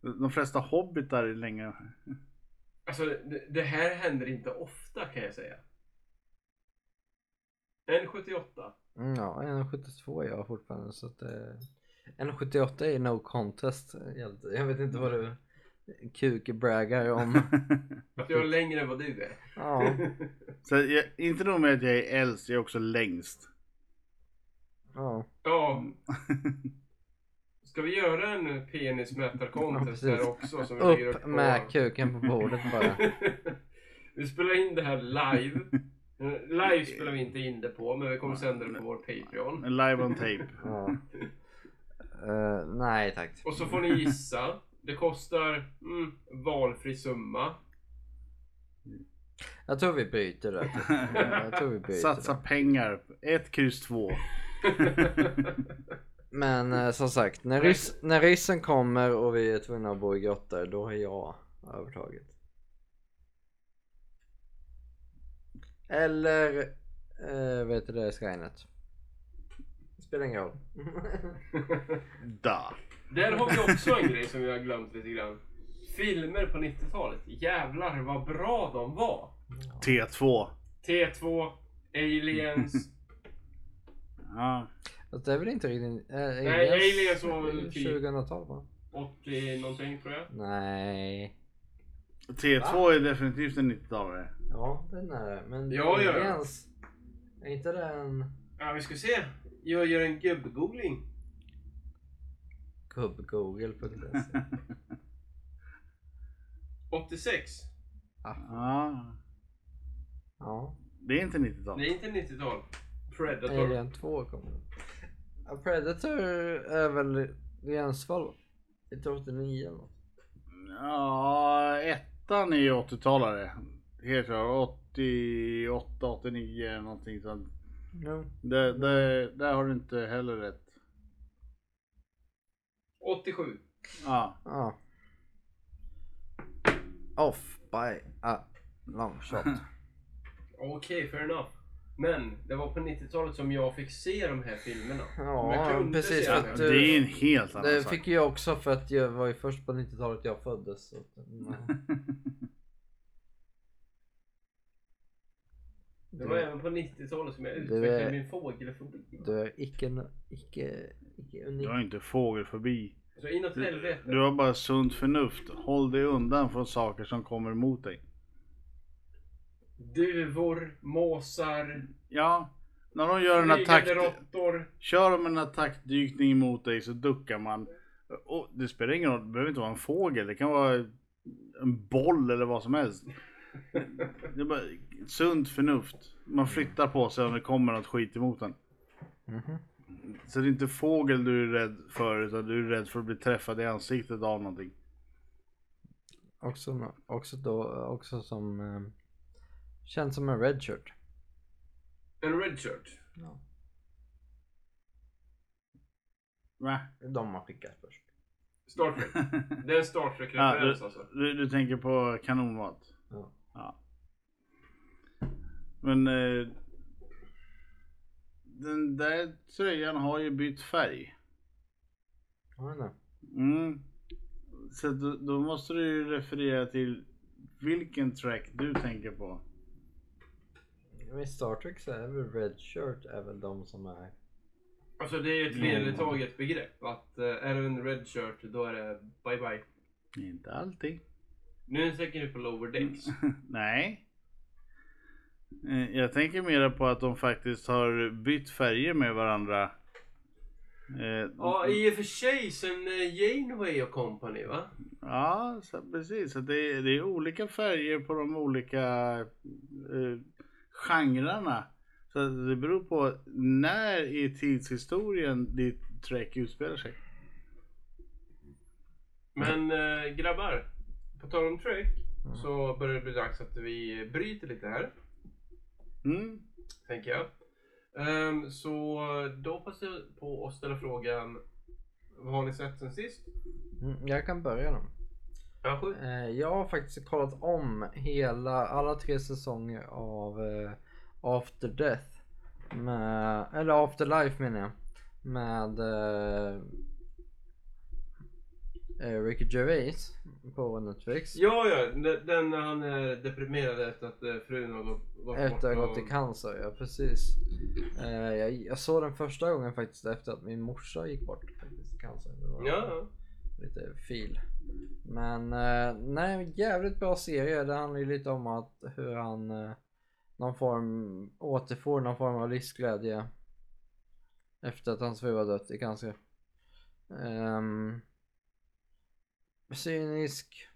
S1: De flesta hobbitar är länge.
S2: Alltså det, det här händer inte ofta kan jag säga. En 78.
S3: Mm, Ja, 1,72 är jag fortfarande så att eh, 1,78 är ju no contest. hjälte. Jag vet inte vad du kukbraggar
S1: <laughs>
S3: om.
S2: Att jag är längre än vad du är.
S3: Ja,
S1: Så jag, inte nog med att jag är äldst, jag är också längst.
S3: ja. <laughs>
S2: Ja. Ska vi göra en penismätarkontest
S3: Ja, precis.
S2: här också? Som vi lägger
S3: Upp med kuken på bordet bara.
S2: <laughs> vi spelar in det här live.
S3: <laughs>
S2: Live spelar vi inte in det på, men vi kommer sända det på vår Patreon.
S1: Live on tape.
S3: Ja. Eh, nej tack.
S2: Och så får ni gissa. Det kostar mm, valfri summa. <laughs>
S3: Jag tror vi byter det. Jag tror vi byter
S1: Satsa
S3: det.
S1: pengar. 1, kryss 2.
S3: Men
S2: Mm.
S3: eh, som sagt, när, rys- när ryssen kommer och vi är tvungna att bo i grottor, då har jag övertaget. Eller, eh, vet du det, Skynet? Spelar ingen roll. <laughs>
S1: Da.
S2: Där har vi också en grej som vi har glömt lite grann. Filmer på 90-talet. Jävlar vad bra de var.
S1: T2.
S2: T2, Aliens.
S1: Ja.
S3: Fast det är väl inte riktigt... eh,
S2: Aliens var väl
S3: är ju
S2: typ-
S3: 2000-tal va?
S2: 80 någonting tror jag.
S3: Nej.
S1: T2 är definitivt en 90-talare.
S3: Ja, den är det. Men
S2: Ja, ja, ja.
S3: Aliens, är inte den
S2: Ja, vi ska se. Jag gör en gubb-googling.
S3: gubb-google.se?
S2: 86.
S1: Ja.
S3: <laughs> Ja.
S1: Det är inte 90-tal.
S2: Det är inte 90-tal. Predator.
S3: Alien 2 kommer det. Ja, Predator är väl gränsfall 1989 eller något.
S1: Ja, ettan är ju 80-talare. Helt klart. 88, 89 någonting sånt.
S3: Ja.
S1: Där, där, där har du inte heller rätt.
S2: 87.
S1: Ja.
S3: Off by a long
S1: <laughs>
S3: shot.
S2: Okej, fair enough. Men det var på 90-talet som jag fick se de här filmerna. Som jag
S3: Ja,
S2: kunde
S3: precis.
S2: se
S3: För
S2: dem.
S3: att,
S1: Det är en
S3: du,
S1: helt annan
S3: det
S1: sak.
S3: fick jag också för att jag var ju först på 90-talet jag föddes. Så att, mm.
S1: <laughs>
S3: nej.
S2: Det var
S3: Du,
S2: även på 90-talet som jag
S3: Det
S2: utvecklade
S3: är-
S2: min fågelfobi.
S3: du är icke, icke, icke
S1: Du
S3: unik.
S1: har inte fågel förbi.
S2: Så inåt helvete.
S1: Du har bara sunt förnuft. Håll dig undan från saker som kommer mot dig.
S2: Duvor, måsar,
S1: Ja, när de gör en attack.
S2: flygande råttor.
S1: Kör de en attackdykning mot dig så duckar man. Och det spelar ingen roll, det behöver inte vara en fågel. Det kan vara en boll eller vad som helst. Det är bara sunt förnuft. Man flyttar på sig om det kommer något skit emot en.
S3: Mhm.
S1: Så det är inte fågel du är rädd för utan du är rädd för att bli träffad i ansiktet av någonting.
S3: Också, nå- också, då, också som... Eh, känns som en redshirt.
S2: En redshirt.
S3: Ja.
S1: Va?
S3: De har skickat först.
S1: <laughs>
S2: Star Trek. Det är en Star Trek-referens alltså.
S1: Du, du tänker på kanonmat?
S3: Ja.
S1: Men eh, den där tröjan har ju bytt färg.
S3: Har den det?
S1: Mm. Så då, då måste du ju referera till vilken track du tänker på.
S3: Men I eh, Star Trek så är väl Red Shirt är väl de som är...
S2: Alltså det är ju ett vedertaget begrepp att eh, är du en redshirt då är det bye bye.
S1: Inte alltid.
S2: Nu tänker du på lower decks.
S1: Nej. Eh, Jag tänker mera på att de faktiskt har bytt färger med varandra. Eh,
S2: Ja i och för sig sen eh, Janeway och company va?
S1: Ja, så, precis. Så det, är, det är olika färger på de olika eh, genrerna. Så att det beror på när i tidshistorien ditt Trek utspelar sig.
S2: Men eh, grabbar, på tal om Trek
S3: Mm.
S2: så börjar det bli dags att vi bryter lite här.
S1: Mm.
S2: tänker jag. Ehm, så då passar jag på att ställa frågan. Vad har ni sett sen sist?
S3: Mm, jag kan börja då.
S2: Ja, sjukt.
S3: Eh, Jag har faktiskt kollat om hela, alla tre säsonger av eh, After Death. Med, eller Afterlife menar jag. Med eh, eh, Ricky Gervais på Netflix.
S2: Ja, ja. Den den när han är deprimerad efter att eh, frun har gått, gått
S3: Efter att ha
S2: och-
S3: gått i cancer, ja precis. Eh, jag, jag såg den första gången faktiskt efter att min morsa gick bort faktiskt, i cancer. Det var-
S2: Ja,
S3: lite fil. Men eh, nej, jävligt bra serie. Det handlar ju lite om att hur han eh, någon form, återfår någon form av livsglädje efter att hans fru har dött i cancer. Ehm, cynisk.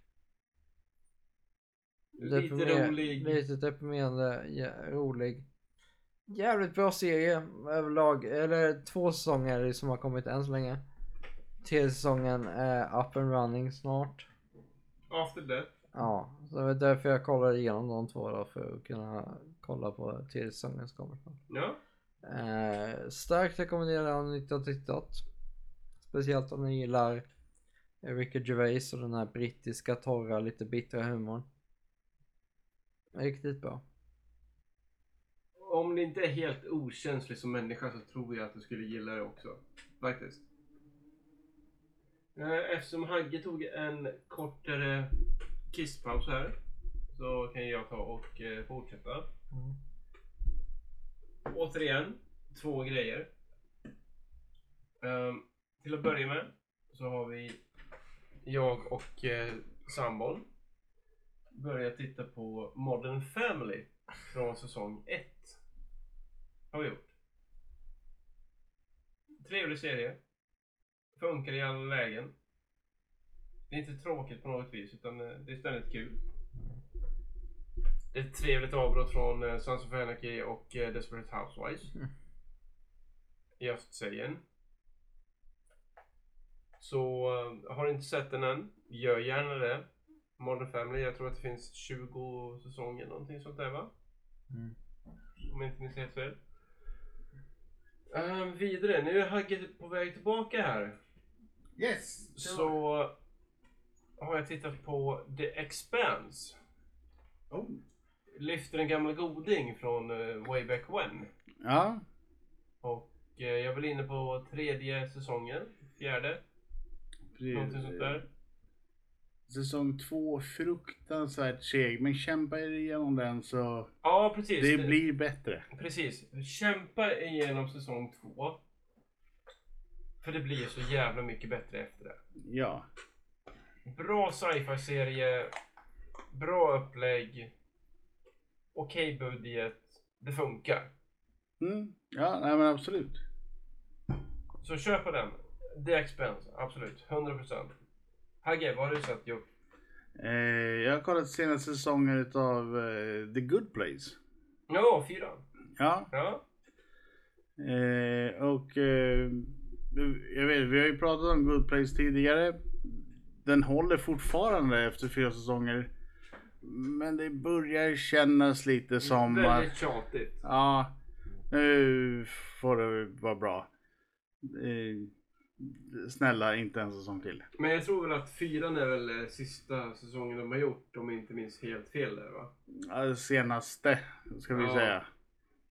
S2: Lite
S3: deprimer-
S2: rolig.
S3: Lite deprimerande, jä- rolig. Jävligt bra serie överlag. Eller två säsonger som har kommit än så länge. Tredje säsongen är up and running snart.
S2: ja. After death.
S3: Ja, så det var därför jag kollade igenom de två då för att kunna kolla på tredje säsongen som kommer snart.
S2: Ja.
S3: Eh, starkt rekommenderar om ni inte har tittat. Speciellt om ni gillar Ricky Gervais och den här brittiska torra, lite bittra humorn. Riktigt bra.
S2: Om det inte är helt okänslig som människa så tror jag att du skulle gilla det också. Faktiskt. Eh, Eftersom Hagge tog en kortare kisspaus här så kan jag ta och eh, fortsätta. Återigen, två grejer. Ehm, till att börja med så har vi jag och eh, sambon börjat titta på Modern Family från säsong 1. Har vi gjort. Trevlig serie. Funkar i alla lägen. Det är inte tråkigt på något vis utan eh, det är ständigt kul. Det är ett trevligt avbrott från eh, Sons of Anarchy och eh, Desperate Housewives.
S3: Mm.
S2: I östserien. Så eh, har ni inte sett den än, gör gärna det. Modern Family, jag tror att det finns 20 säsonger någonting sånt där va?
S3: Mm.
S2: Om jag inte minns helt fel. Eh, vidare, nu är Hagge på väg tillbaka här.
S1: Yes!
S2: Så har jag tittat på The Expanse.
S1: Oh.
S2: Lyfter en gammal goding från eh, way back when.
S1: Ja,
S2: Och eh, jag är väl inne på tredje säsongen, fjärde, någonting sånt där.
S1: Säsong två, fruktansvärt seg. Men kämpa er igenom den så
S2: Ja, precis.
S1: det blir bättre.
S2: Precis. Kämpa igenom säsong två. För det blir så jävla mycket bättre efter det.
S1: Ja.
S2: Bra sci-fi-serie. Bra upplägg. Okej budget. Det funkar.
S1: Mm. Ja, nej men absolut.
S2: Så köp på den. The Expense, absolut. 100%. Hagge, vad har du sett gjort?
S1: Eh, jag har kollat senaste säsongen utav eh, The Good Place.
S2: Ja, fyran.
S1: Ja,
S2: Ja.
S1: Eh, och eh, jag vet, vi har ju pratat om Good Place tidigare. Den håller fortfarande efter fyra säsonger. Men det börjar kännas lite som att
S2: Väldigt tjatigt.
S1: ja, nu får det vara bra. Eh, snälla, inte en säsong till.
S2: Men jag tror väl att fyran är väl eh, sista säsongen de har gjort om jag inte minns helt fel där va? <laughs>
S1: Ja, Senaste, ska vi
S2: Ja.
S1: säga.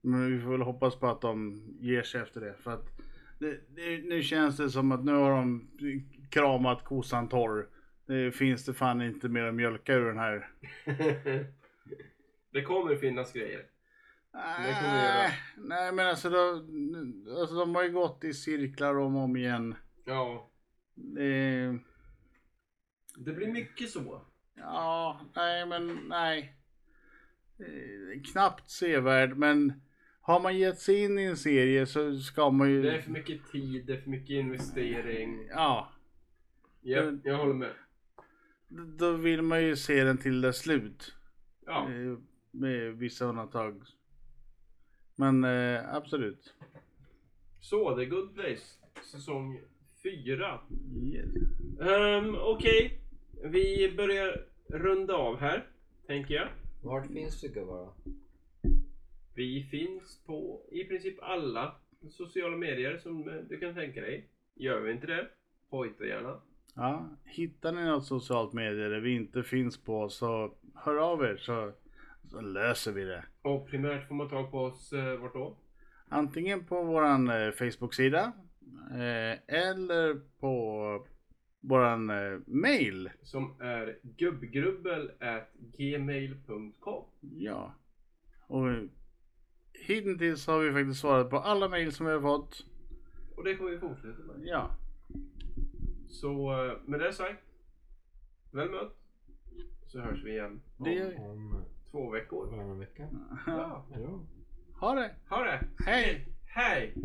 S1: Men vi får väl hoppas på att de ger sig efter det. För att det, det, nu känns det som att nu har de kramat kossan torr. Det finns det fan inte mer att mjölka ur den här.
S2: det kommer finnas grejer. Det kommer vi göra.
S1: Nej, nej men alltså de, alltså de har ju gått i cirklar om och om igen.
S2: Ja.
S1: Eh,
S2: Det blir mycket så.
S1: Ja, nej men nej. Eh, Knappt sevärd men har man gett sig in i en serie så ska man ju...
S2: Det är för mycket tid, det är för mycket investering.
S1: Ja,
S2: Ja, jag håller med.
S1: d- då vill man ju se den till dess slut.
S2: Ja.
S1: Eh, Med vissa undantag. Men eh, absolut.
S2: Så, The Good Place. Säsong 4.
S1: Yes.
S2: Um, Okej, vi börjar runda av här, tänker jag.
S3: Vart finns du gubbar då?
S2: Vi finns på i princip alla sociala medier som eh, du kan tänka dig. Gör vi inte det, hojta gärna.
S1: Ja, hittar ni något socialt medie där vi inte finns på så hör av er så, så löser vi det.
S2: Och primärt får man tag på oss eh, vart då?
S1: Antingen på våran eh, Facebook-sida eh, eller på våran eh, mail.
S2: Som är gubbgrubbel.gmail.com
S1: Ja. Och hittills har vi faktiskt svarat på alla mail som vi har fått.
S2: Och det kommer vi fortsätta med.
S1: Ja.
S2: Så eh, med det sagt, väl mött. Så hörs vi igen
S1: Det gör vi.
S4: Om
S2: två veckor.
S4: varannan vecka.
S2: Ja,
S4: Ja.
S1: Ha det!
S2: ha det!
S1: Hej.
S2: Hej!